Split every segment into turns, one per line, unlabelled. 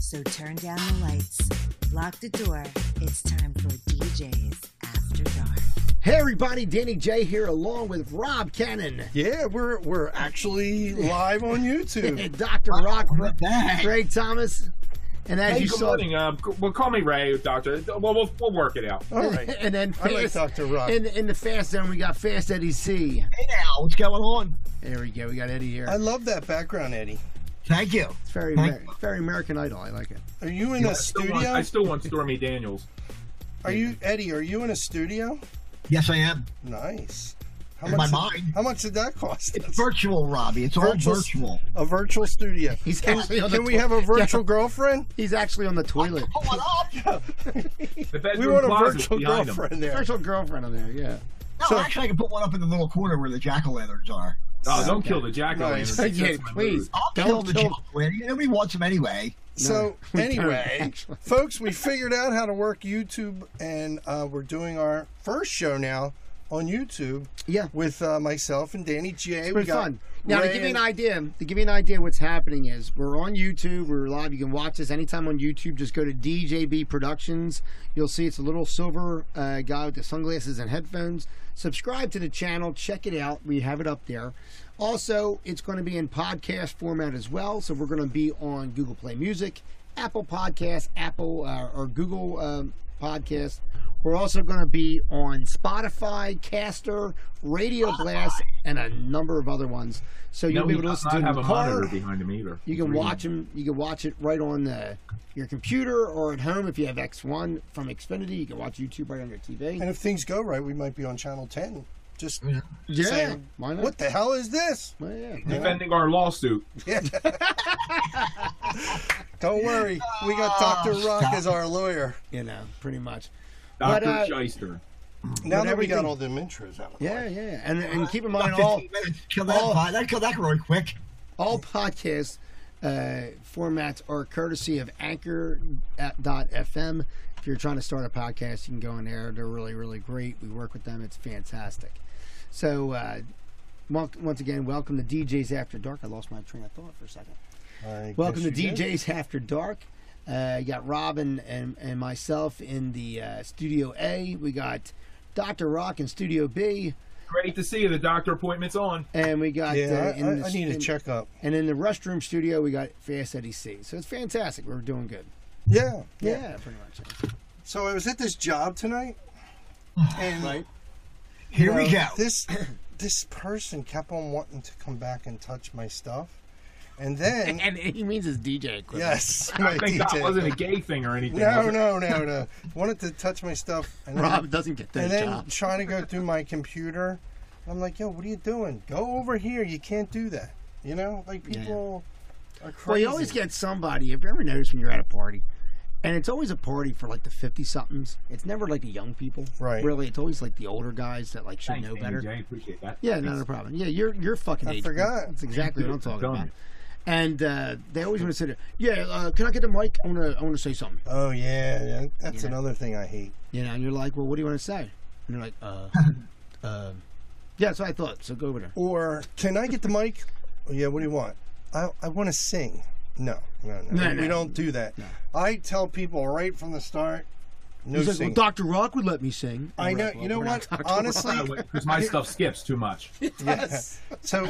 So turn down the lights, lock the door. It's time for DJ's After Dark.
Hey everybody, Danny J here along with Rob Cannon.
Yeah, we're we're actually live on YouTube.
Dr. Rock,
We're back.
Ray Thomas, and as
Hey,
you
good
saw,
morning. Um, c- well, call me Ray, Doctor. Well, we'll, we'll work it out.
All right.
and then
I like
fast,
Dr. Rock.
in, in the fast zone we got Fast Eddie C.
Hey now, what's going on?
There we go, we got Eddie here.
I love that background, Eddie.
Thank you.
It's very
Thank
Amer- very American Idol. I like it.
Are you in a
Still want-
studio?
I still want Stormy Daniels.
Are you Eddie, are you in a studio?
Yes, I am.
Nice. How
In my
did-
mind.
How much did that cost?
It's virtual, Robbie. It's all
Virtual-
virtual.
a virtual studio.
He's
can
actually on the
can we
twi-
have a virtual
Yeah.
girlfriend?
He's actually on the toilet.
Pull it up.
The
We
bedroom
want a
closet's
virtual
behind him.
girlfriend there.
Virtual girlfriend on there, yeah.
No,
So-
actually, I can put one up in the little corner where the jack o' lanterns are.
Oh, don't kill the jack o'
Nice.
lantern.
Yeah, please.
I'll
Don't
kill the
kill-
jack o' lantern. Nobody wants them anyway.
So
we don't,
anyway,
actually.
folks, we figured out how to work YouTube, and uh, we're doing our first show now on YouTube.
Yeah.
with uh, myself and Danny J.
Pretty fun. Now to
Ray
give you an
and-
idea, to give you an idea, what's happening is we're on YouTube. We're live. You can watch us anytime on YouTube. Just go to DJB Productions. You'll see it's a little silver uh, guy with the sunglasses and headphones. Subscribe to the channel. Check it out. We have it up there. Also, it's going to be in podcast format as well. So we're going to be on Google Play Music, Apple Podcasts, Apple uh, or Google um, Podcasts. We're also going to be on Spotify, Caster, Radio Blast, and a number of other ones. So you'll
No,
be
we
able to listen to
not
it in
have
the
a
car.
monitor behind him either.
You can watch them. You can watch it right on the, your computer or at home if you have X1 from Xfinity. You can watch YouTube right on your TV.
And if things go right, we might be on channel ten. Just
Yeah,
saying,
why not?
what the hell is this?
Well, yeah.
Defending our lawsuit.
Yeah. Don't worry, we got Doctor Rock
stop
as our lawyer.
You know, pretty much. But,
Dr.
uh,
Shyster.
Now that we
everything-
got all them intros out of the way.
Yeah, yeah. And and keep in mind
About
all
15 minutes. Kill that.
all-
vi- that kill that really quick.
all podcast uh, formats are courtesy of anchor.fm. If you're trying to start a podcast, you can go in there. They're really, really great. We work with them, it's fantastic. So, uh, mon- once again, welcome to DJs After Dark. I lost my train of thought for a second.
I
Welcome to
guess you
DJs
did.
After Dark. Uh, you got Robin and, and myself in the uh, Studio A. We got Dr. Rock in Studio B.
Great to see you. The doctor appointment's on.
And we got.
Yeah,
uh,
I,
in
I,
the
I need a
in-
checkup.
and in the restroom studio, we got Fast Eddie C. So it's fantastic. We're doing good.
Yeah,
Yeah, pretty much.
So I was at this job tonight, and
Here
you
we go.
know, This this person kept on wanting to come back and touch my stuff, and then
And he means his DJ equipment.
yes, my
I think that
DJ.
wasn't a gay thing or anything. was
No,
it?
no, no, no. Wanted to touch my stuff, and
Rob
then,
doesn't get those
and then
jobs.
trying to go through my computer. I'm like, yo, what are you doing? Go over here. You can't do that. You know, like
Yeah.
people are crazy.
Well, you always get somebody. If you ever notice when you're at a party, and it's always a party for like the 50 somethings, it's never like the young people.
Right.
Really, it's always like the older guys that like should
Thanks,
know
Danny
better.
J. Appreciate that.
Yeah, not a problem. Yeah, you're you're fucking.
I
age.
forgot.
That's exactly what I'm
Done.
talking about. And uh, they always want to sit there. Yeah, uh, can I get the mic? I want to I want to say something.
Oh yeah, yeah. that's
Yeah.
another thing I hate.
You know, and you're like, well, what do you want to say? And you're like, uh, uh, yeah, that's what I thought. So go over there.
Or can I get the mic? Oh, yeah. What do you want? I I want to sing. No, no, no.
No, no.
we don't do that. I tell people right from the start. No
He's like,
singing.
well, Dr. Rock would let me sing.
I
And we're
know.
like, well,
you know
we're not
what?
Dr. Rock.
Honestly,
Because my stuff skips too much.
Yeah. So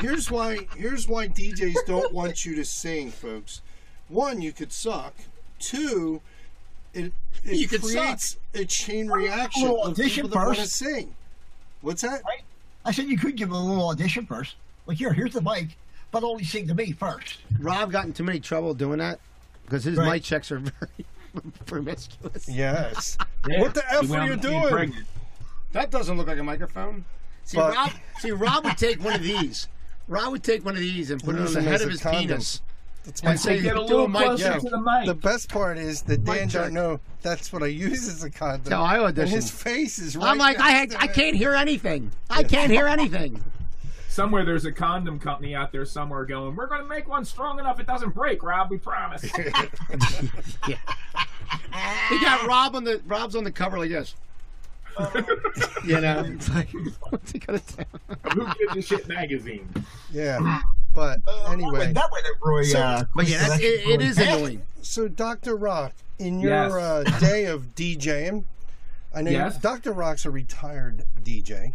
here's why here's why DJs don't want you to sing, folks. One, you could suck. Two, it it
You could
creates a chain reaction
Little
of
audition
people that want to
first.
sing. What's that?
I said you could give it a little audition first. Like here, here's the mic, but only sing to me first.
Rob got in too many trouble doing that because his
Right.
mic checks are very promiscuous.
Yes.
Yeah.
What the F
He
were
wound
you
up being
doing?
pregnant.
That doesn't look like a microphone. See,
But-
Rob, see, Rob would take one of these. Rob would take one of these and put it on
Use
the
them
head
as
of
a
his
condom.
penis.
That's
And
my
say,
Get a
do
little
mic
closer
check.
to the mic.
the best part is that Dan
check.
don't know that's what I use as a condom.
No, I
And his
auditioned.
face is right
I'm like, I,
next
had,
to
I
it.
can't hear anything. I can't hear anything.
Somewhere there's a condom company out there somewhere going, we're going to make one strong enough it doesn't break, Rob. We promise.
Yeah. He got Rob on the Rob's on the cover like this. you know, it's like what's he gonna do?
Who gives a shit magazine?
Yeah. But
Uh,
anyway.
that way, that way, that really,
So-
uh,
But yeah, that's,
that's
it, it
really-
is annoying.
so Dr. Rock, in your
Yes.
uh, day of DJing, I know you-
Yes.
Dr. Rock's a retired DJ.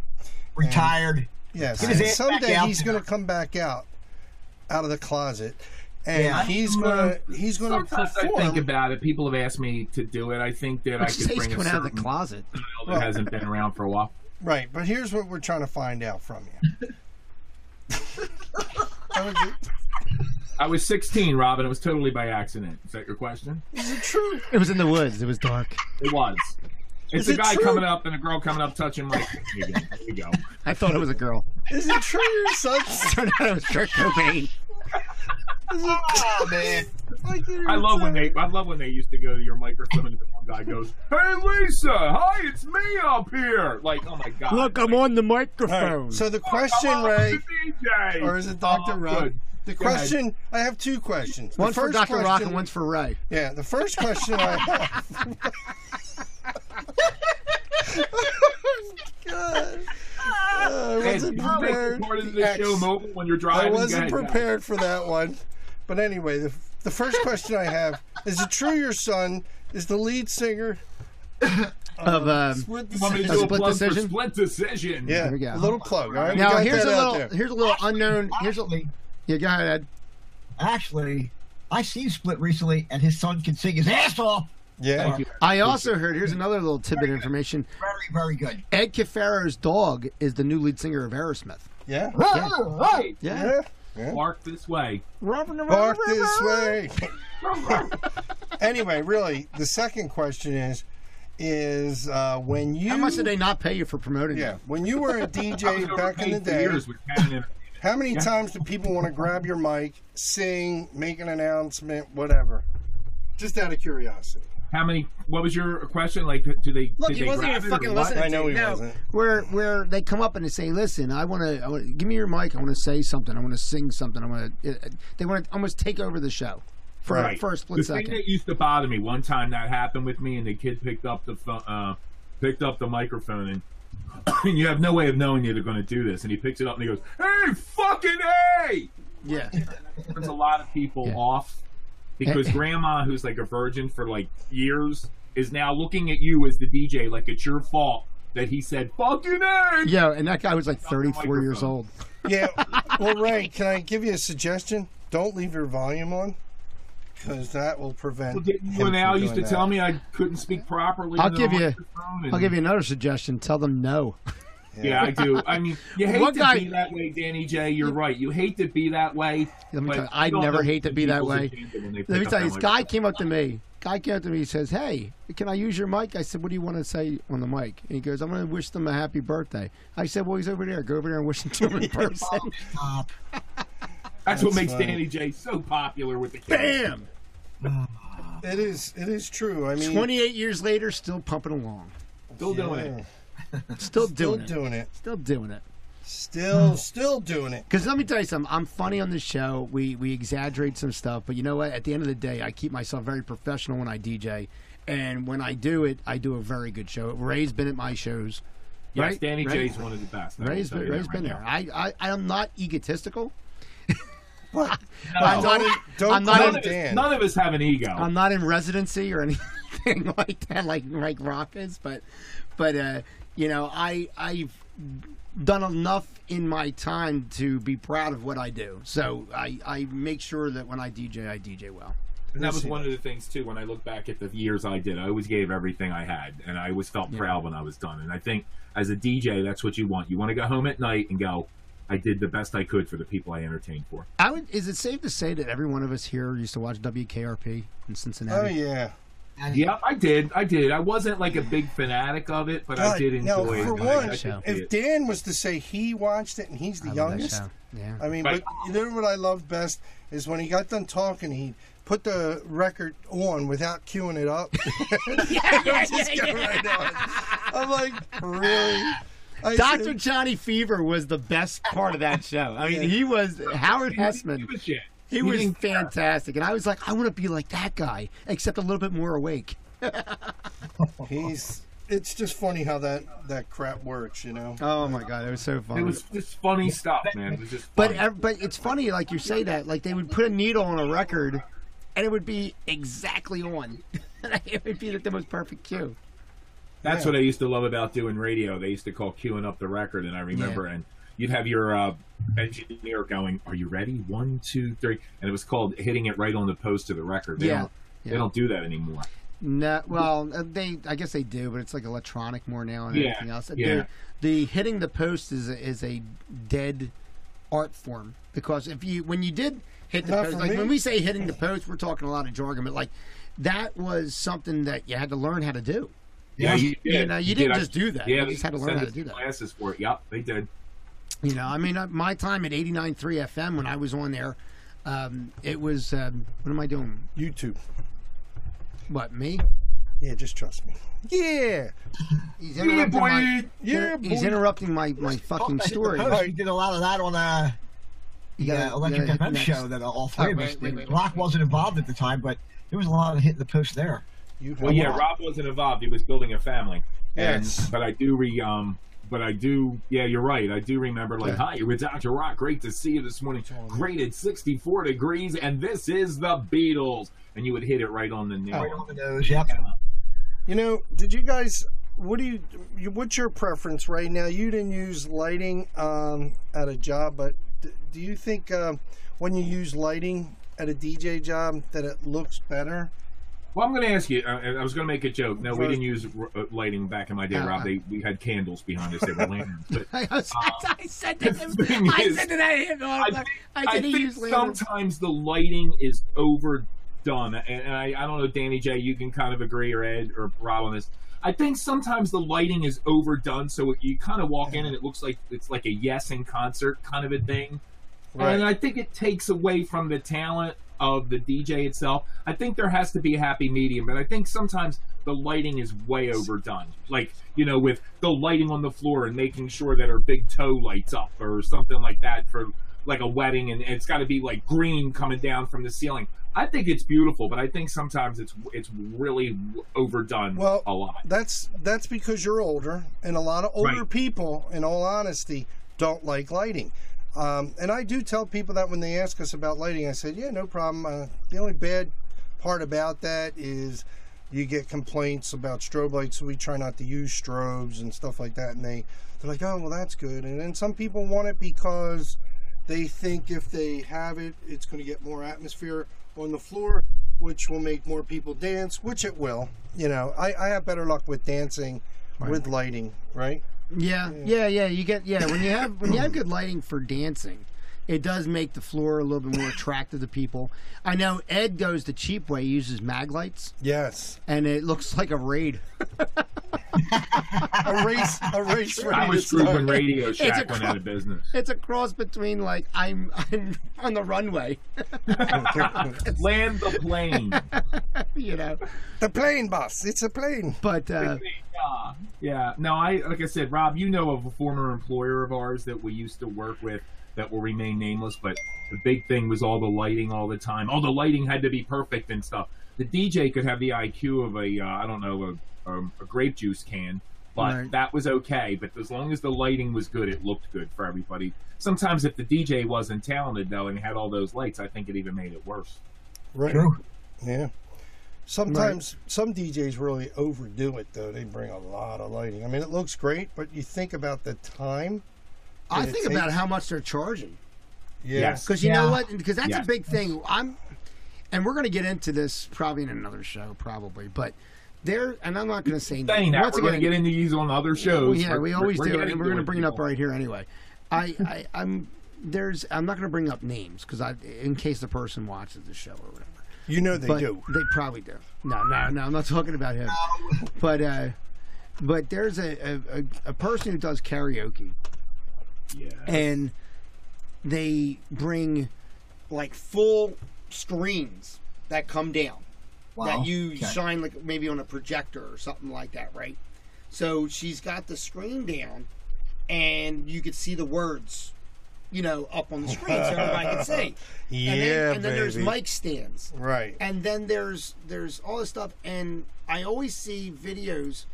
Retired.
Yes.
Get his ass back
Someday
out
he's
there.
going to come back out out of the closet, and
Yeah.
he's
I'm, uh,
going to he's going to
Sometimes I
perform.
think about it. People have asked me to do it. I think that I
Let's say
could
he's
bring a
coming
certain
out of the closet.
style that hasn't been around for a while.
right, but here's what we're trying to find out from you. That was it.
I was 16, Robin. It was totally by accident. Is that your question?
True.
It was in the woods. It was dark.
It was. It's
Is
a
it
guy
true?
coming up and a girl coming up touching my. There you go.
I thought it was a girl.
Is it true your son's
Turned out it was Kurt Cobain.
Oh man.
like your
Ah, I love when
son-
they. I love when they used to go to your microphone and the one guy goes, "Hey Lisa, hi, it's me up here." Like, oh my god.
Look, I'm on the
All right,
microphone.
So the
Look, I'm
question,
on
Ray,
the DJ.
or is it Dr.
Oh,
Rock?
good.
The
Go ahead.
question I have two questions. The
one for
first
Dr. Rock
question-
and one's for Ray.
Yeah, the first question I have. God. Uh, Oh, I
Ed,
wasn't
did you make
prepared.
part of
The
the show
X.
mobile when you're
I
driving?
wasn't
Go ahead, guys.
prepared for that one. But anyway, the, the first question I have is it true your son is the lead singer?
Of um,
Split
You want me to
A
do a
split
plug
decision?
for split decision?
Yeah,
There we go.
a little plug. All right, We
now
got
here's a
that out
little
there.
here's a little unknown. Here's a
Actually,
yeah. Go ahead, Ed.
actually, I seen Split recently, and his son can sing his ass off.
Yeah,
Thank you.
I also heard here's another little tidbit of information.
Very, very good.
Ed Cafaro's dog is the new lead singer of Aerosmith.
yeah,
Right.
Yeah.
yeah.
Bark this way.
Bark this way. anyway, really, the second question is, is uh, when you
How much did they not pay you for promoting?
Yeah,
Yeah.
when you were a DJ back in the
Overpaid for
day,
years with Canon.
how many times do people want to grab your mic, sing, make an announcement, whatever? Just out of curiosity.
How many? What was your question? Like, do they?
Look,
did
he
they
wasn't
grab
even
it or
fucking
what?
listening.
I know he
No.
wasn't.
Where where they come up and they say, "Listen, I want to I wanna, give me your mic. I want to say something. I want to sing something. I want to." They want to almost take over the show for
Right.
for a
the
split
thing
second.
that used to bother me one time that happened with me, and the kid picked up the phone, uh, picked up the microphone, and, and you have no way of knowing that they're going to do this. And he picks it up and he goes, "Hey, fucking hey!"
Yeah.
Turns a lot of people
Yeah. Eh,
off because grandma, who's like a virgin for like years, is now looking at you as the DJ like it's your fault that he said "fucking hey."
Yeah, and that guy was like 34 years
microphone.
old.
Yeah. Well, Ray, can I give you a suggestion? Don't leave your volume on, because that will prevent.
Well, didn't you
him
and Al
from
used to
doing
tell
that.
me I couldn't speak properly.
I'll
into the
give you-
microphone and-
I'll give you another suggestion. Tell them no.
Yeah, I do. I mean, you hate
One
to
guy-
be that way, Danny J. You're right. You hate to be that way.
Let me
but
tell you, I
don't
never
know
hate to be that
people's
way.
agenda when they
Let
pick
me
up
tell you,
that
this guy
microphone.
came up to me. Guy came up to me. He says, "Hey, can I use your mic?" I said, "What do you want to say on the mic?" And he goes, "I'm going to wish them a happy birthday." I said, "Well, he's over there. Go over there and wish him to him in person."
Stop.
That's what
That's
makes
funny.
Danny J. so popular with the kids. Bam.
It is. It is true. I mean,
28 years later, still pumping along,
Still
yeah,
doing it.
still
Still
doing it,
doing it.
still doing it.
Hmm.
Still, still doing it.
Because let me tell you something. I'm funny on this show. We we exaggerate some stuff, but you know what? At the end of the day, I keep myself very professional when I DJ, and when I do it, I do a very good show. Ray's been at my shows.
Yes,
right?
Danny
Right?
J's one of the best. I will
Ray's
tell
been,
you that
Ray's
right
been
now.
there. I, I I am not egotistical.
What?
I'm not in,
Don't
I'm not e-
call
in,
None of, us,
Dan.
none of us have an ego.
I'm not in residency or anything like that, like like Rock is. But but uh, you know, I I've done enough in my time to be proud of what I do. So I I make sure that when I DJ, I DJ well.
And that was
Listen.
one of the things too. When I look back at the years I did, I always gave everything I had, and I always felt proud when I was done. And I think as a DJ, that's what you want. You want to go home at night and go, "I did the best I could for the people I entertained for."
I would. Is it safe to say that every one of us here used to watch WKRP in
Oh
Cincinnati?
yeah.
Yep, I did. I did. I wasn't like a big fanatic of it, but I
God,
did enjoy
now,
it.
for
I-
one,
I could
show.
see
If
it.
Dan was to say he watched it and he's the
I love that
youngest,
show. Yeah.
I mean,
Right.
but you know what I loved best is when he got done talking, he put the record on without queuing it up. Just go right on. I'm like, really? I
Dr.
said,
Johnny Fever was the best part of that show. I mean, he was Howard
He didn't
Hessman.
give a shit.
He was
didn't care.
fantastic, and I was like, I want to be like that guy, except a little bit more awake.
he's. It's just funny how that that crap works, you know.
Oh my god, it was so fun.
It was just funny stuff, man. It was just.
but
funny.
ev- but it's funny, like you say that, like they would put a needle on a record, and it would be exactly on. it would be like the most perfect cue.
That's
Yeah.
what I used to love about doing radio. They used to call queuing up the record, and I remember, and you'd have your uh, engineer going, "Are you ready? One, two, three. and it was called hitting it right on the post of the record. They
Yeah.
don't,
Yeah.
they don't do that anymore.
No, well, uh, they I guess they do, but it's like electronic more now and
Yeah,
everything else.
yeah.
The, the hitting the post is a, is a dead art form because if you when you did hit the
Not
post,
for
like
me.
when we say hitting the post, we're talking a lot of jargon, but like that was something that you had to learn how to do.
Yeah, you,
You know, you didn't
I-
just do that.
Yeah,
You
they
just had to learn
send
how
us
to do that.
Classes for it. Yep, they did.
You know, I mean, uh, my time at 89.3 FM when I was on there, um, it was um, what am I doing?
YouTube.
What me?
Yeah, just trust me. Yeah.
He's interrupting my,
Yeah, boy.
he's interrupting my, my fucking
Talk about
story.
the post, We did a lot of that on uh, the
Yeah,
uh, Electric
yeah,
FM
next. Oh,
show that all three of
wait,
us
wait, wait,
did.
wait.
Rock wasn't involved at the time, but there was a lot of hitting the post there.
You
Well,
have-
yeah, Rob wasn't involved. He was building a family. And-
Yes.
but I do re um. But I do, yeah, you're right. I do remember, like, hi, you're with Dr. Rock. Great to see you this morning. Graded 64 degrees, and this is the Beatles. And you would hit it right on the
Oh.
Right
nail.
on the nose, yep.
You know, did you guys? What do you, you? What's your preference right now? You didn't use lighting um, at a job, but d- do you think um, when you use lighting at a DJ job that it looks better?
Well, I'm going to ask you. uh, I, I was going to make a joke. No, we
First-
didn't use r- uh, lighting back in my day, Rob. They, we had candles behind us. They were lanterns. But
I, was, I said to him,
the thing
I
is,
said to that him, I,
I
I,
think-
said
I
he
think
used lanterns.
sometimes the lighting is overdone, and, and I, I don't know, Danny J, you can kind of agree, or Ed, or Rob on this. I think sometimes the lighting is overdone, so you kind of walk in and it looks like it's like a yes in concert kind of a thing. And I think it takes away from the talent of the DJ itself. I think there has to be a happy medium, but I think sometimes the lighting is way overdone. Like, you know, with the lighting on the floor and making sure that her big toe lights up or something like that for like a wedding and it's got to be like green coming down from the ceiling. I think it's beautiful, but I think sometimes it's it's really w- overdone
Well,
a lot.
That's that's because you're older, and a lot of older
Right.
people, in all honesty, don't like lighting. Um, and I do tell people that when they ask us about lighting, I said, "Yeah, no problem." Uh, the only bad part about that is you get complaints about strobe lights, so we try not to use strobes and stuff like that. And they they're like, "Oh, well, that's good." And then some people want it because they think if they have it, it's going to get more atmosphere on the floor, which will make more people dance, which it will. You know, I, I have better luck with dancing with lighting, right?
Yeah, yeah, yeah. You get yeah when you have when you have good lighting for dancing, it does make the floor a little bit more attractive to people. I know Ed goes the cheap way, he uses mag lights,
Yes.
and it looks like a raid.
A race, a race ready
I
to
was
start.
grouping Radio Shack
a
went
cro-
out of business.
It's a cross between like I'm I'm on the runway,
Land the plane.
you know.
the plane, boss. It's a plane.
But uh,
Yeah, yeah. No, I like I said, Rob. You know of a former employer of ours that we used to work with that will remain nameless, but the big thing was all the lighting all the time. All the lighting had to be perfect and stuff. The DJ could have the IQ of a uh, I don't know a, um, a grape juice can, but
Right.
that was okay. But as long as the lighting was good, it looked good for everybody. Sometimes if the DJ wasn't talented though and had all those lights, I think it even made it worse.
Right.
True.
Yeah. Sometimes some DJs really overdo it, though. They bring a lot of lighting. I mean, it looks great, but you think about the time.
I
Did it
think
take-
about how much they're charging.
Yeah.
Yes.
Because you know
Yeah.
what? Because that's
Yeah.
a big thing. I'm, and we're going to get into this probably in another show, probably. But there, and I'm not going to say
Saying
names.
that,
Once
we're
again,
going to get into these on other shows.
well, Oh, yeah,
We're-
we always do,
getting
and we're going to bring it up
people.
right here anyway. I, I, I'm there's I'm not going to bring up names because I, in case the person watches the show or whatever.
You know they
But
do.
They probably do. No, no, no. I'm not talking about him. But, uh, but there's a, a, a, a person who does karaoke
Yeah.
and they bring like full screens that come down
Wow.
Oh,
that you
Okay.
shine like maybe on a projector or something like that, right? So she's got the screen down, and you could see the words, you know, up on the screen so everybody could see.
Yeah,
and then, and then there's
baby.
mic stands
Right.
and then there's there's all this stuff and i always see videos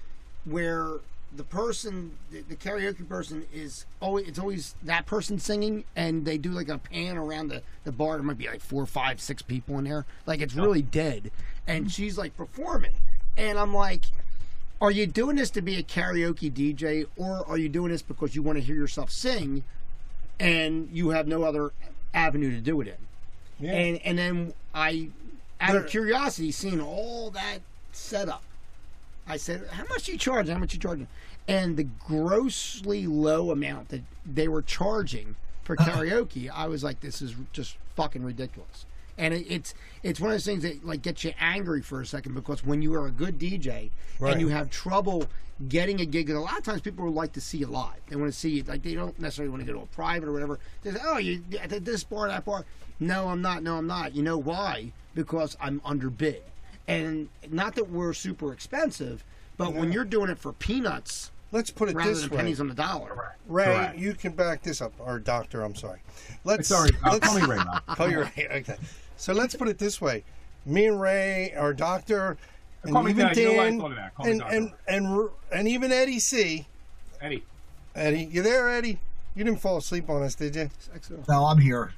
where the person, the, the karaoke person is always it's always that person singing, and they do like a pan around the the bar. There might be like four, five, six people in there. Like it's really dead, and she's like performing, and I'm like. Are you doing this to be a karaoke DJ, or are you doing this because you want to hear yourself sing, and you have no other avenue to do it in?
Yeah.
and and then I, out of
There-
curiosity, seeing all that setup, I said, "How much you charge? How much you charging?" And the grossly low amount that they were charging for karaoke, I was like, "This is just fucking ridiculous." And it, it's it's one of those things that like gets you angry for a second because when you are a good DJ
Right.
and you have trouble getting a gig, 'cause a lot of times people would like to see you live. They want to see you like they don't necessarily want to go to a private or whatever. They say, "Oh, you at this bar, that bar." No, I'm not. No, I'm not. You know why? Because I'm underbid, and not that we're super expensive, but when you're doing it for peanuts
Let's put it
rather
this
than
way.
pennies on the dollar,
Ray,
Correct.
you can back this up, or doctor. I'm sorry. Let's
Sorry, uh,
let's-
call me Ray. Rob.
Call you Ray. Okay. So let's put it this way: me and Ray, our doctor, and
Call me
even
Dad. You know why I
Dan,
thought of that. Call me
and,
Doctor.
and and and and even Eddie C.
Eddie.
Eddie, you there, Eddie? You didn't fall asleep on us, did you?
No, I'm here.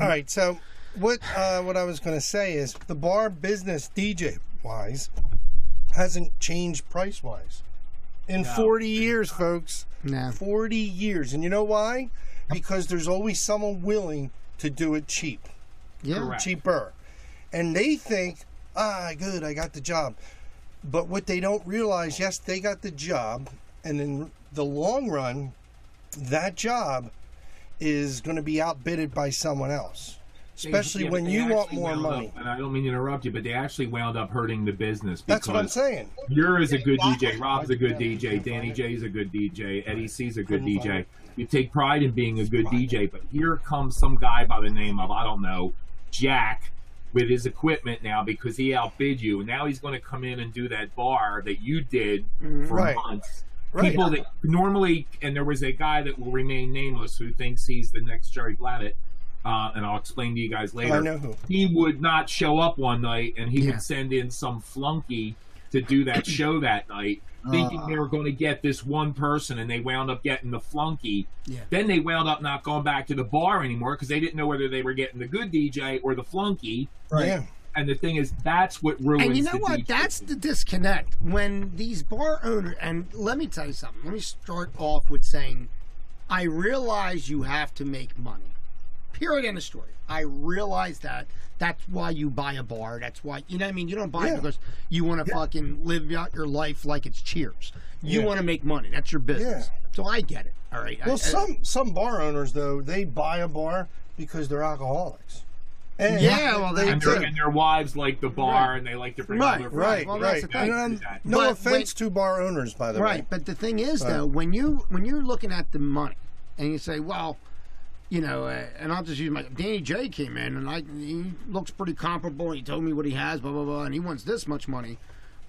All right. So what uh, what I was going to say is the bar business DJ wise hasn't changed price wise in 40 years, folks.
no,
40 years. And you know why? Because there's always someone willing to do it cheap,
yeah,
Correct.
cheaper. And they think, ah, good, I got the job. But what they don't realize, yes, they got the job. And in the long run, that job is going to be outbidded by someone else,
They-
especially
yeah,
when
they
you want
actually
more
wound
money.
Up, and I don't mean to interrupt you, but they actually wound up hurting the business because
That's what I'm saying.
you're is a good DJ, Rob's a good
Yeah, you
DJ,
can't
Danny
find it.
J's a good DJ, Eddie C's a good
Couldn't find
DJ.
it.
You take pride in being a good
Right.
DJ, but here comes some guy by the name of I don't know Jack with his equipment now because he outbid you, and now he's going to come in and do that bar that you did for
Right.
months.
Right.
People that normally, and there was a guy that will remain nameless who thinks he's the next Jerry Glavitt, uh, and I'll explain to you guys later
Oh,
I know who.
he would not show up one night and he
Yeah.
would send in some flunky to do that show that night thinking they were going to get this one person and they wound up getting the flunky
Yeah.
then they wound up not going back to the bar anymore because they didn't know whether they were getting the good dj or the flunky
Right.
Yeah.
and the thing is that's what ruins
And you know
the
what?
DJ.
That's the disconnect when these bar owners. And let me tell you something. Let me start off with saying, I realize you have to make money. Period. End of story. I realize that. That's why you buy a bar. That's why you know. what I mean, you don't buy
Yeah.
it because you want to fucking live out your life like it's Cheers. You
Yeah.
want to make money. That's your business. So I get it. All right. I-
Well,
I-
some some bar owners though they buy a bar because they're alcoholics. And
Yeah, well,
they
and,
that's
their,
do.
and their wives like the bar
Right.
and they like to bring
Right,
all their
Right,
friends.
Well, that's
right.
the thing.
And, uh, no
But
offense to bar owners, by the way.
Right, but the thing is
Right.
though, when you when you're looking at the money and you say, well, you know, uh, and I'll just use my Danny J came in and I he looks pretty comparable. He told me what he has, blah blah blah, and he wants this much money.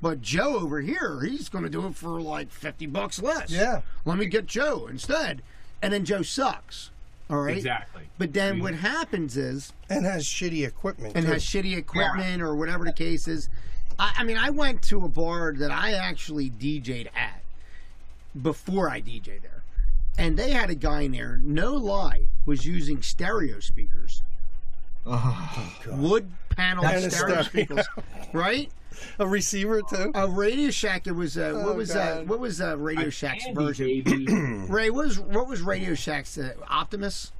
But Joe over here, he's going to do it for like fifty bucks less.
Yeah.
let me get Joe instead, and then Joe sucks. All right,
exactly
But then what happens is
And has shitty equipment.
and
too.
has shitty equipment or whatever the case is. I, I mean, I went to a bar that I actually DJ'd at before I DJ there, and they had a guy in there. No lie, was using stereo speakers, Uh-huh. wood panel
And a
stereo
stereo.
speakers, right?
a receiver too.
A Radio Shack. It was uh,
Oh,
what was uh,
God.
what was uh, Radio Shack's
Tandy,
version?
baby.
Ray, what was what was Radio Shack's uh, Optimus?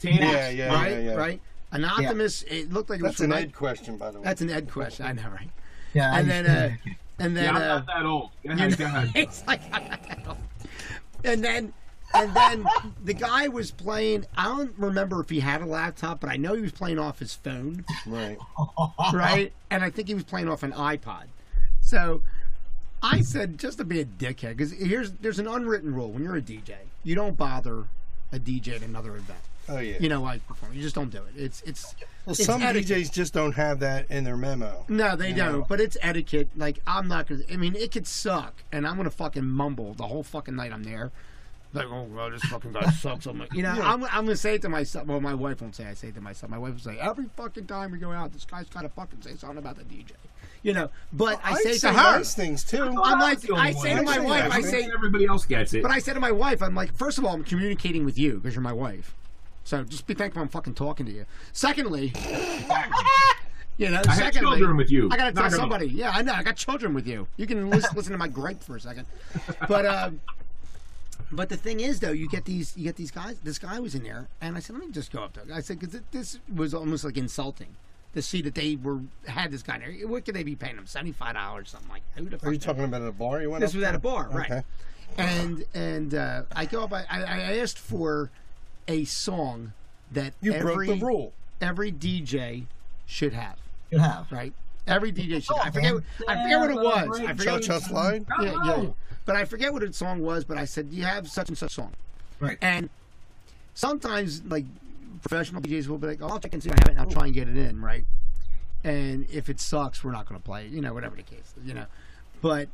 Tandy.
Yeah, yeah,
right,
yeah, yeah.
right. An Optimus. It looked like it
That's
was
an
from
Ed question, by the way.
That's an Ed question. I know, right?
Yeah. I
And then, uh,
understand.
and
Yeah,
then,
i'm
uh,
not that old go ahead, go ahead.
it's like, and then, and then the guy was playing. I don't remember if he had a laptop, but I know he was playing off his phone,
right.
right? and I think he was playing off an iPod. So I said, just to be a dickhead, because here's there's an unwritten rule when you're a DJ, you don't bother a DJ at another event.
Oh yeah.
You know, like perform, you just don't do it. It's it's
well,
it's
some
etiquette.
DJs just don't have that in their memo.
No, they
know?
don't. But it's etiquette. Like I'm not gonna. I mean, it could suck, and I'm gonna fucking mumble the whole fucking night I'm there. Like, oh god, this fucking guy sucks. I'm like, you know,
Yeah.
I'm, I'm gonna say it to myself. Well, my wife won't say. I say it to myself. My wife will say every fucking time we go out, this guy's gotta fucking say something about the DJ. You know, but I, say, it to her.
nice things too.
I'm like,
the only
I say
one.
to my
Actually,
wife, I
actually.
say,
everybody else gets it.
but I say to my wife, I'm like, first of all, I'm communicating with you because you're my wife. So just be thankful I'm fucking talking to you. Secondly, you know,
I had
secondly,
children with you.
I gotta
Knock
tell
'em off.
somebody. Yeah, I know. I got children with you. You can listen, listen to my gripe for a second, but um, but the thing is, though, you get these you get these guys. This guy was in there, and I said, let me just go up there. I said, because this was almost like insulting to see that they were had this guy in there. What could they be paying him? Seventy five dollars, something like. Who the fuck
Are you
knows?
talking about at a bar? You went
This
up
was at a
to?
bar, right?
Okay.
And and uh, I go up. I, I I asked for a song that
You
every,
broke the rule.
Every DJ should have,
You have.
right? Every DJ should. I forget. I forget what it was. I
Cha
forget.
Cha
What,
Slide.
yeah, yeah. But I forget what the song was. But I said, "Do you have such and such song?"
Right.
And sometimes, like professional DJs will be like, oh, "I'll check and see if I have it. and I'll try and get it in." Right. And if it sucks, we're not going to play it. You know, whatever the case. You know, but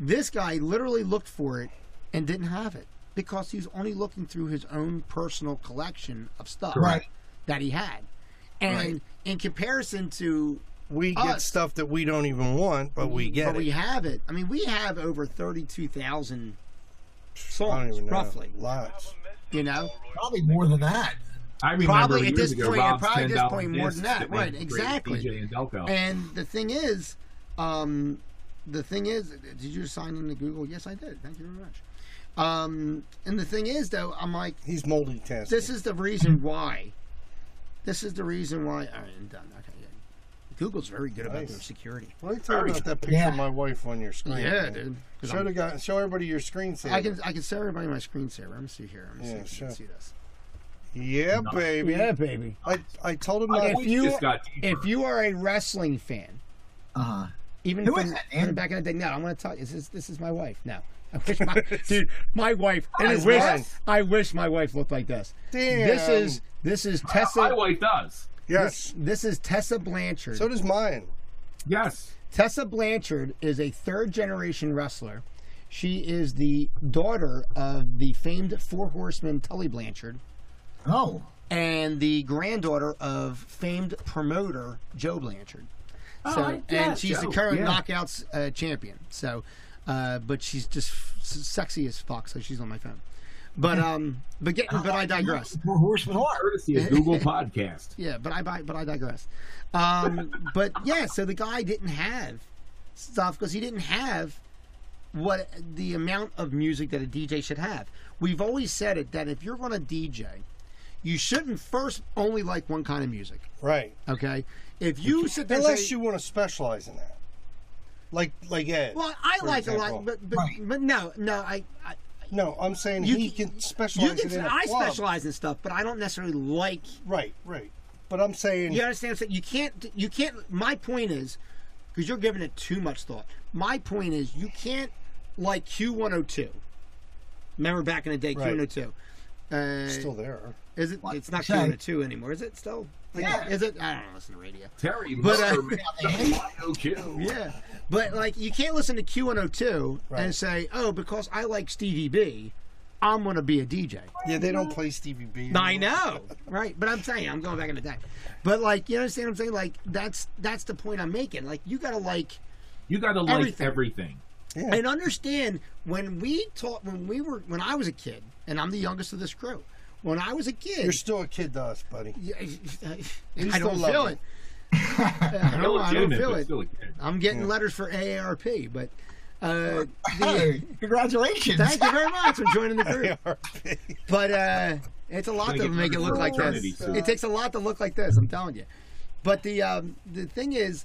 this guy literally looked for it and didn't have it because he was only looking through his own personal collection of stuff
Right.
that he had. And
Right.
in comparison to
We get
Us.
stuff that we don't even want, but we get
but we
it.
have it. I mean, we have over thirty-two thousand
I don't
songs,
even know.
roughly.
Lots.
You know,
Probably more than that.
I remember
Probably at
years
this
ago,
point-
Rob's
probably at this
$10
point more
discs
than that,
made
right,
great
exactly.
DJ and
Oh.
Delco.
and the thing is, um, the thing is, did you sign into Google? Yes, I did. Thank you very much. Um, and the thing is, though, I'm like,
He's multitasking.
this is the reason why. This is the reason why. All right, I'm done. Okay, yeah. Google's very good about
Nice.
their security.
What are you talking about that picture
Yeah.
of my wife on your screen?
Yeah,
man?
dude. 'Cause
Show
I'm-
the guy. Show everybody your screensaver.
I can I can show everybody my screensaver. Let me see here. Let me see
Yeah,
if you can
sure.
see this.
Yeah, baby.
baby.
I, I told him
Okay.
not.
We
if you-
just got deeper.
If you are a wrestling fan,
Uh
Uh-huh.
huh.
even
Who
from,
is that,
from
man?
back in the day. No, I'm going to tell you. This is this is my wife. No, I wish my dude, my wife. And I
That's
wish
mine.
I wish my wife looked like this.
Damn.
This is this is
my
Tessa.
wife does.
Yes.
This is Tessa Blanchard.
So does mine.
Yes.
Tessa Blanchard is a third generation wrestler. She is the daughter of the famed four horseman Tully Blanchard
Oh.
and the granddaughter of famed promoter Joe Blanchard. So, and she's the current knockouts uh, champion. So, uh, but she's just f- sexy as fuck. So she's on my phone. But um, but getting but I digress.
More horsemen are.
Courtesy of Google Podcast.
Yeah, but I but I digress. Um, but yeah, so the guy didn't have stuff because he didn't have what the amount of music that a DJ should have. We've always said it that if you're going to DJ, you shouldn't first only like one kind of music.
Right.
Okay, if you sit there and
Unless
say-
you want to specialize in that. Like like Ed.
well, I
for
like a
example.
lot, but but,
Right.
but no, no, I, I
No, I'm saying
You
he
can-
can,
you
specialize
can.
in
say
it.
I specialize in stuff, but I don't necessarily like.
Right, right. But I'm saying
You understand? what I'm saying? You can't. You can't. My point is, because you're giving it too much thought. My point is, you can't like Q102. Remember back in the day,
Right.
Q102. Uh,
it's still there.
is it? It's not
Sorry.
Q102 anymore, is it? Still?
Yeah.
Is it? I don't listen to radio.
Terry
But, uh,
Mutter made the Q.
Yeah, but like you can't listen to Q102
Right.
and say, "Oh, because I like Stevie B, I'm gonna be a DJ."
Yeah, they don't play Stevie B.
I
anymore.
know, right? But I'm saying I'm going back in the day. But like, you understand what I'm saying? Like that's that's the point I'm making. Like you gotta like
You got to like
Everything.
everything.
Yeah.
and understand when we taught when we were when I was a kid, and I'm the youngest of this crew. When I was a kid,
You're still a kid to us, buddy.
Yeah, I,
We
I
still
don't
love
feel
you.
it. I don't, I don't
Illegitimate,
feel
but
it.
still a kid.
I'm getting letters for AARP, but uh, the,
Hey, congratulations.
thank you very much for joining the group. But uh, it's a lot
Gotta
to
get
make it
ready
look
for
like
eternity
this.
soon.
It takes a lot to look like this. I'm telling you. But the um, the thing is,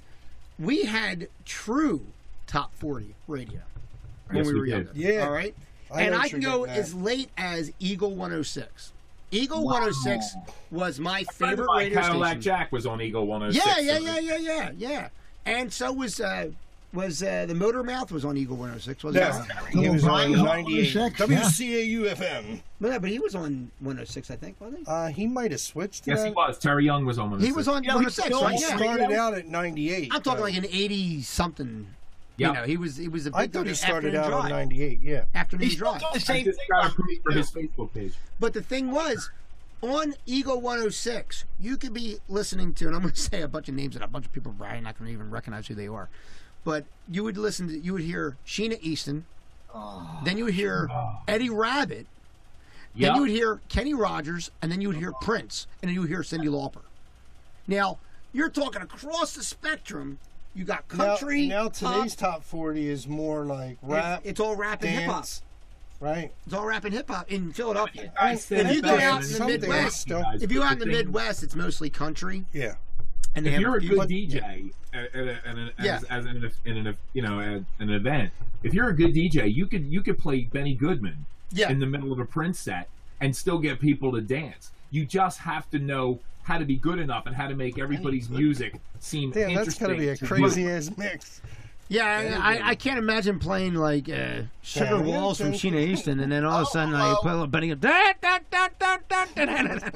we had true top forty radio when
Yes,
we
we
were
did.
younger.
Yeah.
All right.
I know
and
what
I can
you're
go
getting at.
as late as Eagle 106. Eagle 106 was my
Friend of
favorite
mine,
radio
Cadillac
station.
Jack was on Eagle 106.
Yeah, yeah,
so
yeah, yeah, yeah, yeah. And so was uh, was uh, the Motor Mouth was on Eagle 106, wasn't
Yeah.
it?
He was on
Brian
98.
Hall,
WCAU FM.
But, yeah, but he was on 106, I think, wasn't he?
Uh, he might have switched to
Yes,
that.
he was. Terry Young was on 106.
He was on
Yeah, we
106,
still
right?
He
Yeah.
start-
started out at 98.
I'm talking
but-
like an 80 something
Yeah.
You know, he was he was a big
I thought he started
afternoon
out on
drive.
'98. Yeah.
afternoon
He's still
drive.
doing the
I
same
just
thing.
got
on
approved for
YouTube.
his Facebook page.
But the thing was, on Eagle 106, you could be listening to, and I'm going to say a bunch of names that a bunch of people probably not going to even recognize who they are. But you would listen to, you would hear Sheena Easton,
Oh,
then you would hear Eddie Rabbit, then you
Yeah.
would hear Kenny Rogers, and then you would hear Prince, and then you would hear Cindy Lauper. Now, you're talking across the spectrum. You got
Now,
country,
now
pop,
today's top 40 is more like
it-
rap,
it's all rap and hip hop.
dance, right?
It's all rap and hip hop in Philadelphia.
I said
if you
it
go
best,
out in
man.
the
Someday
Midwest,
it's still-
Guys,
If you're
but
out in the
thing-
Midwest, it's mostly country.
Yeah.
And they
if
have
you're a
few-
good DJ at, at, a, at an,
Yeah.
as, as an, in an you know at an event, if you're a good DJ, you could you could play Benny Goodman
yeah,
in the middle of a Prince set and still get people to dance. You just have to know how to be good enough and how to make everybody's music seem
Damn, that's
interesting.
gotta be a
to you.
crazy ass mix.
yeah. I- I, I can't imagine playing like uh, Sugar Walls from Sheena Easton, and then all of a sudden I put a little
Oh.
Benny. Da, da, da, da, da, da, da, da, da.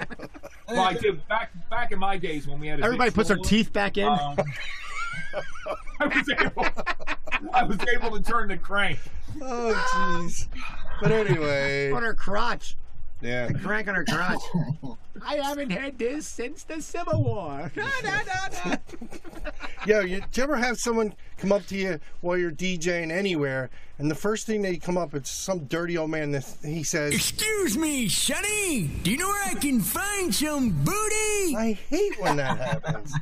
Like dude, back back in my days when we had a big
Everybody puts their
school,
teeth back in.
um, I was able I was able to turn the crank.
Oh, jeez. But anyway,
on her crotch,
yeah.
crank on her crotch. I haven't had this since the Civil War. Da, da, da, da.
Yo, you, do you ever have someone come up to you while you're DJing anywhere, and the first thing they come up, it's some dirty old man that he says,
Excuse me, Sonny. Do you know where I can find some booty?
I hate when that happens.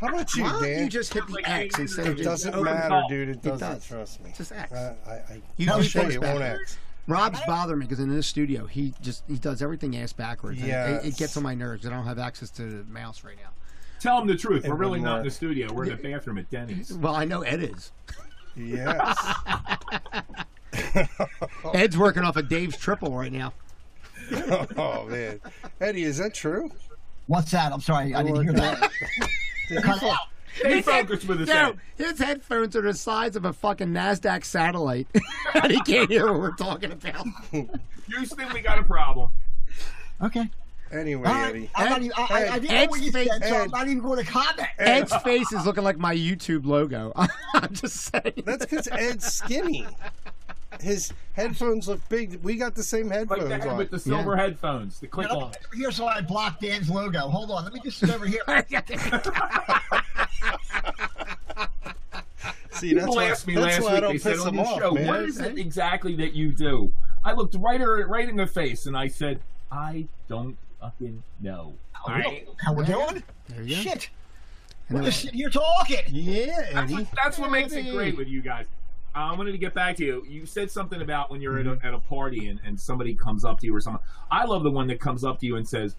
How about you,
Why don't
Dan?
you just hit the X instead of
it
just
doesn't
open-
matter,
call.
dude. It doesn't.
does.
Trust me.
Just X.
Uh, I, I,
You
I'll
do
show
things
you. It won't
backwards.
X.
Rob's bothering me because in this studio he just he does everything ass backwards. and
Yeah.
it, it gets on my nerves. I don't have access to the mouse right now.
Tell them the truth. We're really
wouldn't
not in
work.
the studio. We're in the bathroom at Denny's.
Well, I know Ed is.
Yes.
Ed's working off of Dave's triple right now.
oh man, Eddie, is that true?
What's that? I'm sorry, I didn't hear that.
Did he
Cut it
fall-
out.
Stay focused with us.
Yo,
Ed.
his headphones are the size of a fucking Nasdaq satellite, and he can't hear what we're talking about.
Houston, we got a problem.
Okay.
Anyway,
All right.
Eddie.
I'm not even, I, I, I didn't know what you said, so I'm not even going to comment.
Ed's face is looking like my YouTube logo. I'm just saying.
That's because Ed's skinny. His headphones look big. We got the same
Like
headphones
that
on.
with the silver headphones, the click
Let me
on.
get over here so I block Dan's logo. Hold on, let me just sit over here.
See, that's
People
why,
asked me
that's
last
why I
week.
don't
They said
piss
on
them
this
off,
show,
man.
what is it exactly that you do? I looked right her right in the face and I said, I don't fucking know. All right?
How we're doing?
There you go.
Shit.
And
We're
then-
just sitting here talking.
Yeah,
That's what,
Eddie.
that's what makes it great with you guys. Uh, I wanted to get back to you. You said something about when you're
Mm-hmm.
at, a, at a party and, and somebody comes up to you or something. I love the one that comes up to you and says,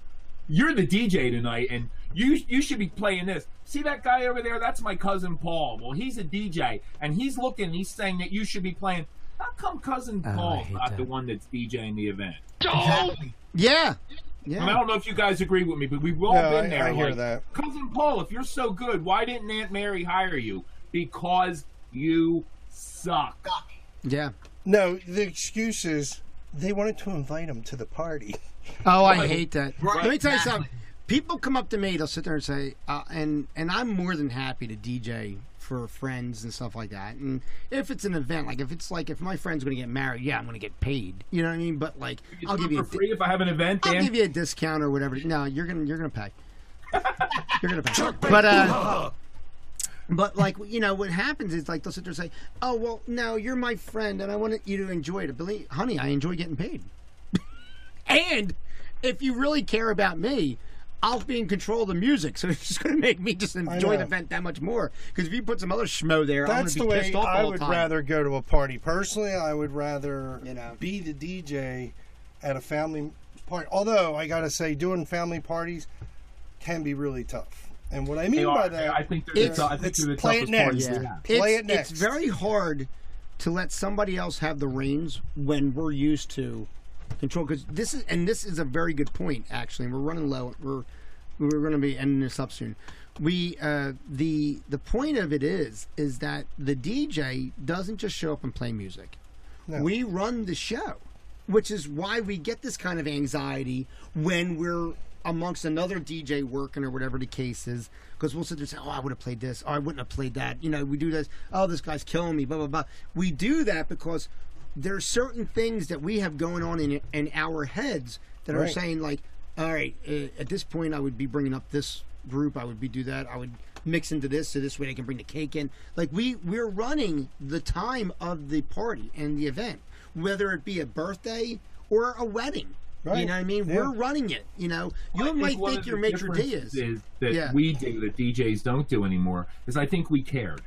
"You're the DJ tonight, and you you should be playing this." See that guy over there? That's my cousin Paul. Well, he's a DJ, and he's looking. and He's saying that you should be playing. How come cousin
Oh, I
Paul's
hate
not
that.
the one that's DJing the event?
Exactly.
Yeah.
I, mean, I
Yeah.
don't know if you guys agree with me, but we've all
No,
been
I,
there.
I hear
like,
that.
Cousin Paul, if you're so good, why didn't Aunt Mary hire you? Because you suck.
Yeah.
No, the excuse is they wanted to invite him to the party.
Oh, I hate that.
Right,
Let me tell you
exactly.
something. People come up to me, they'll sit there and say, uh, and and I'm more than happy to DJ for friends and stuff like that. And if it's an event, like if it's like if my friend's going to get married, yeah, I'm going to get paid. You know what I mean? But like,
You
I'll
do
give
it
you a
for
di-
free if I have an event.
I'll
Dan?
give you a discount or whatever. No, you're gonna you're gonna pay. you're gonna pay. But uh, but like you know, what happens is like they'll sit there and say, "Oh well, no, you're my friend, and I want you to enjoy it." Believe, honey, I enjoy getting paid. and if you really care about me. I'll be in control of the music, so it's just going to make me just enjoy the
know.
event that much more. Because if you put some other schmo there,
That's
I'm going
the
to be
way
pissed off
I
all
would
the time.
rather go to a party. Personally, I would rather
You know.
be the DJ at a family party. Although I gotta say, doing family parties can be really tough. And what I
They
mean by
are.
that,
I think they're,
It's-
the, I think
it's
they're the
play it
toughest parties
next.
to
Yeah.
have.
Play
it's,
it next.
It's very hard to let somebody else have the reins when we're used to control. Because this is, and this is a very good point actually. And we're running low. We're we're going to be ending this up soon. We uh, the the point of it is is that the DJ doesn't just show up and play music. We run the show, which is why we get this kind of anxiety when we're amongst another DJ working or whatever the case is. Because we'll sit there and say, "Oh, I would have played this. Oh, I wouldn't have played that." You know, we do this. Oh, this guy's killing me. Blah blah blah. We do that because there's certain things that we have going on in in our heads that are
Right.
saying like, "All right, uh, at this point, I would be bringing up this group. I would be do that. I would." mix into this so this way they can bring the cake in like we we're running the time of the party and the event whether it be a birthday or a wedding you
Right.
know what I mean?
Yeah.
We're running it. You know, you
I
might
one
think
of
your
the
maitre d'
differences
is.
is that
Yeah.
we do that DJs don't do anymore is I think we cared.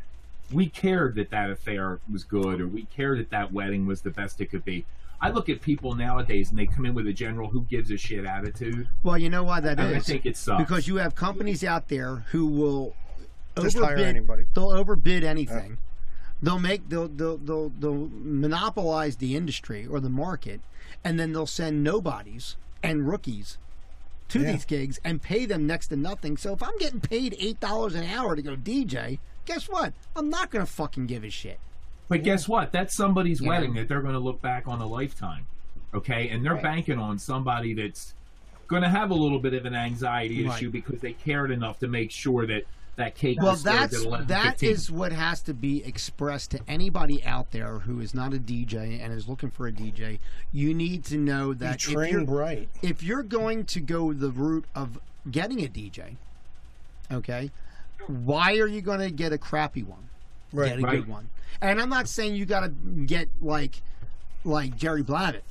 We cared that that affair was good, or we cared that that wedding was the best it could be. I look at people nowadays and they come in with a general who gives a shit attitude,
Well, you know why that
and I
is
think it sucks.
because you have companies out there who will
Just hire
overbid-
anybody.
They'll overbid anything. They'll make they'll, they'll they'll they'll monopolize the industry or the market, and then they'll send nobodies and rookies to
Yeah.
these gigs and pay them next to nothing. So if I'm getting paid eight dollars an hour to go DJ, guess what? I'm not gonna fucking give a shit.
But guess what? That's somebody's wedding that they're going to look back on a lifetime. Okay? And they're banking on somebody that's going to have a little bit of an anxiety
Right.
issue because they cared enough to make sure that that cake
Well,
was served
that's
at 11,
that is what has to be expressed to anybody out there who is not a DJ and is looking for a DJ. You need to know
You
that if you're,
trained right.
if you're going to go the route of getting a DJ, okay, why are you going to get a crappy one?
Right.
Get a
Right.
good one. And I'm not saying you got to get like like Jerry Blavitt.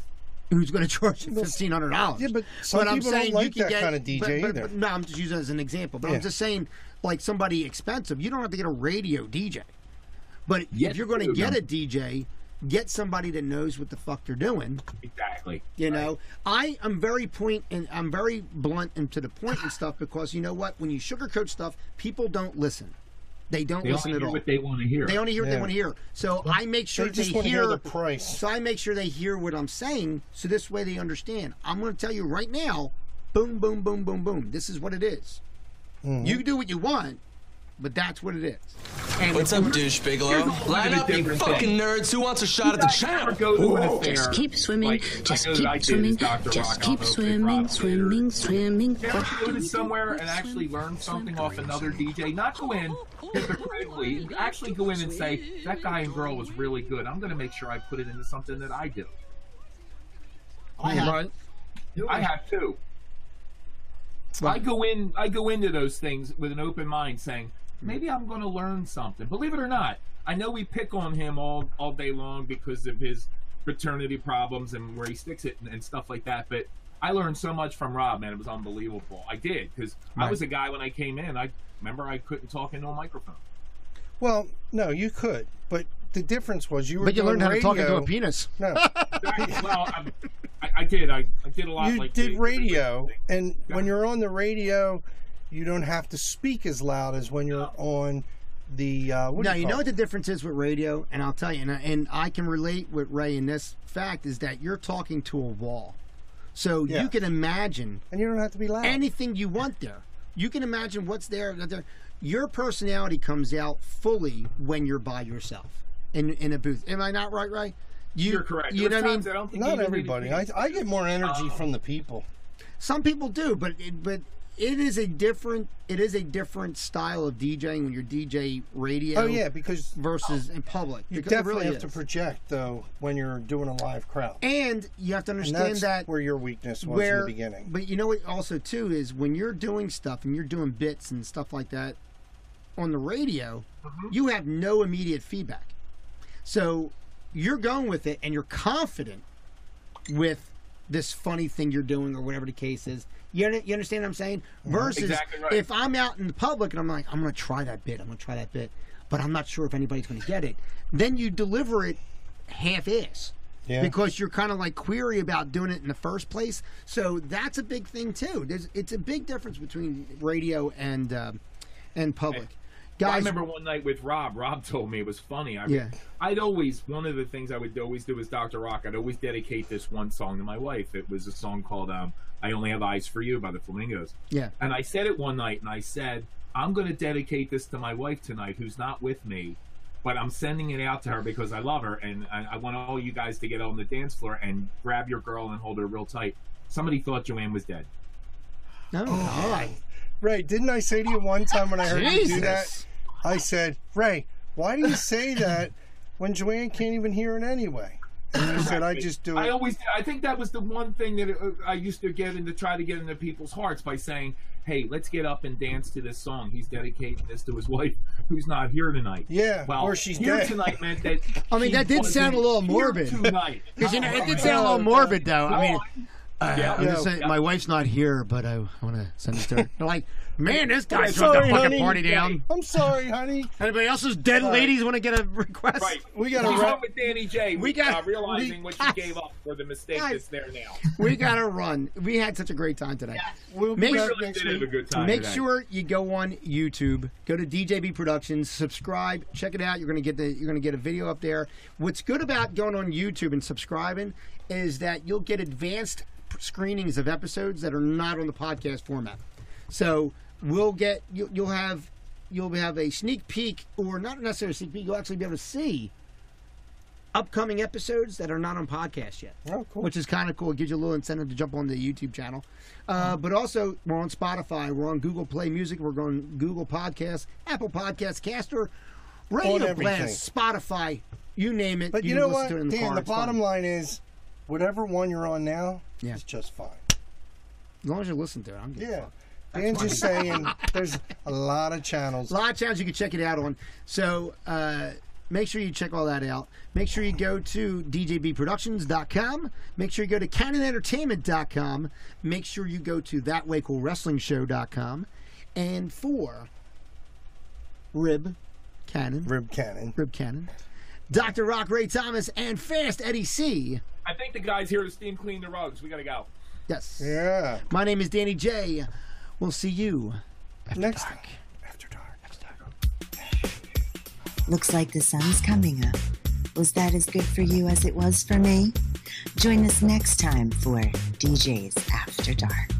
Who's going to charge you fifteen hundred dollars?
Yeah, but some
I'm
people don't
saying you
like
can
that
get-
kind of DJ
but- but-
either.
but- no, I'm just using it as an example. But
Yeah.
I'm just saying, like somebody expensive, you don't have to get a radio DJ. But
Yes,
if you're going to
you
get
do.
a DJ, get somebody that knows what the fuck they're doing.
exactly.
You know, I am very point and I'm very blunt and to the point and stuff because you know what? When you sugarcoat stuff, people don't listen. They don't
They
listen
only
at
hear
all.
what they want to hear.
They only hear what they
Yeah.
want to hear. So I make sure
They just
they
want to
hear.
hear the price.
So I make sure they hear what I'm saying, so this way they understand. I'm going to tell you right now, boom, boom, boom, boom, boom. This is what it is.
Hmm.
You do what you want, but that's what it is. And
What's up, douche bigelow?
Here's a
Line
little
up,
bit
you
different
fucking
thing.
nerds! Who wants a shot at the
Never
champ?
go to an affair.
Just keep swimming,
like-
just
I know that I
keep
did as
swimming,
Dr.
just
Rock,
keep
I'll go pick
swimming,
rocks later.
swimming, swimming.
Ever go to somewhere and actually learn something off another DJ? Not go in hypocritically. Actually go in and say, that guy and girl was really good. I'm going to make sure I put it into something that I do.
I have.
Right.
I have too. I go in. I go into those things with an open mind, saying maybe I'm going to learn something. Believe it or not, I know we pick on him all all day long because of his paternity problems and where he sticks it and, and stuff like that. But I learned so much from Rob, man. It was unbelievable. I did because I was a guy when I came in. I remember I couldn't talk into a microphone.
Well, no, you could, but the difference was you were.
but you
doing
learned how to talk into
radio-
a penis.
No,
well, I, I, I did. I, I did a lot.
you
like
did
the-
radio, and
Yeah.
when you're on the radio, you don't have to speak as loud as when you're on the. Uh, what do
Now you
call
know what
it?
the difference is with radio, and I'll tell you, and I, and I can relate with Ray in this fact is that you're talking to a wall, so
Yeah.
you can imagine
and you don't have to be
Oh.
loud.
anything you want there. You can imagine what's there. that there- Your personality comes out fully when you're by yourself in in a booth. Am I not right, Ray? You,
You're correct.
You
There
know
was
what I mean?
times don't think
Not
even really
everybody.
did.
I, I get more energy from the people.
Some people do, but it, but it is a different it is a different style of DJing when you're DJ radio
Oh yeah, because
versus in public.
you
because it
definitely
really
have
is.
to project though when you're doing a live crowd.
and you have to
And
understand
that's
that
where your weakness was in
where
the beginning.
But you know what? Also, too, is when you're doing stuff and you're doing bits and stuff like that on the radio,
Mm-hmm.
you have no immediate feedback. So you're going with it, and you're confident with this funny thing you're doing or whatever the case is. You, under- you understand what I'm saying? Versus
Mm-hmm. Exactly right.
if I'm out in the public and I'm like, I'm going to try that bit, I'm going to try that bit, but I'm not sure if anybody's going to get it. Then you deliver it half ass
Yeah.
because you're kind of like query about doing it in the first place. So that's a big thing too. There's it's a big difference between radio and um and public.
I
Guys,
remember one night with Rob. Rob told me it was funny. I,
Yeah.
I'd always one of the things I would always do is Dr. Rock. I'd always dedicate this one song to my wife. It was a song called um, "I Only Have Eyes for You" by the Flamingos.
yeah,
And I said it one night, and I said, "I'm going to dedicate this to my wife tonight, who's not with me, but I'm sending it out to her because I love her, and I, I want all you guys to get on the dance floor and grab your girl and hold her real tight." Somebody thought Joanne was dead.
No, God.
Ray, didn't I say to you one time when I heard you do that?
Oh, Jesus.
I said, Ray, why do you say that when Joanne can't even hear it anyway? And you said, I just do
I
it.
always, I think that was the one thing that uh, I used to get into, try to get into people's hearts by saying, "Hey, let's get up and dance to this song." He's dedicating this to his wife, who's not here tonight.
Yeah,
well,
or she's
here
dead.
tonight meant that.
I mean,
she
that did
wasn't
sound a little
here
morbid.
tonight.
Because you know, it did
Oh,
sound a little
God.
morbid, though. I mean, uh,
yeah,
I'm
yeah.
just saying, my wife's not here, but I want to send this to her. They're like, man, this guy took
Sorry,
the fucking
honey.
party down.
I'm sorry, honey.
Anybody else's dead ladies want to get a request?
Right.
We gotta
She's
wrap-
home with Danny J.
We
We
got-
got uh, realizing
we-
what she gave up for the mistake
Guys.
that's there now.
We gotta run. We had such a great time today.
We'll be
Make
back
sure
Really
next
did have a
week.
good time.
Make
tonight.
sure you go on YouTube, go to DJB Productions, subscribe, check it out. You're gonna get the you're gonna get a video up there. What's good about going on YouTube and subscribing is that you'll get advanced screenings of episodes that are not on the podcast format. So we'll get you, you'll have you'll have a sneak peek, or not necessarily a sneak peek. You'll actually be able to see upcoming episodes that are not on podcast yet
Oh, cool.
which is kind of cool. It gives you a little incentive to jump on the YouTube channel. Uh, but also, we're on Spotify, we're on Google Play Music, we're on Google Podcasts, Apple Podcasts, Caster,
On
Radio
everything.
Blast, Spotify, you name it.
But you
can
know
listen
what,
to it in
Dan?
the car.
the
It's fun.
bottom line is, whatever one you're on now
Yeah.
is just fine.
as long as you listen to it, I'm good.
Yeah. Dan's just saying there's a lot of channels.
A lot of channels you can check it out on. So uh, make sure you check all that out. Make sure you go to djbproductions.com. Make sure you go to canonentertainment.com. Make sure you go to thatwaycoolwrestlingshow.com. And for Rib Cannon, Rib,
Rib Cannon.
Cannon, Dr. Rock Ray Thomas, and Fast Eddie C.
I think the guys here to steam clean the rugs. We gotta go.
Yes.
Yeah.
My name is Danny J. We'll see you.
Next time. After dark.
Looks like the sun's coming up. Was that as good for you as it was for me? Join us next time for DJ's After Dark.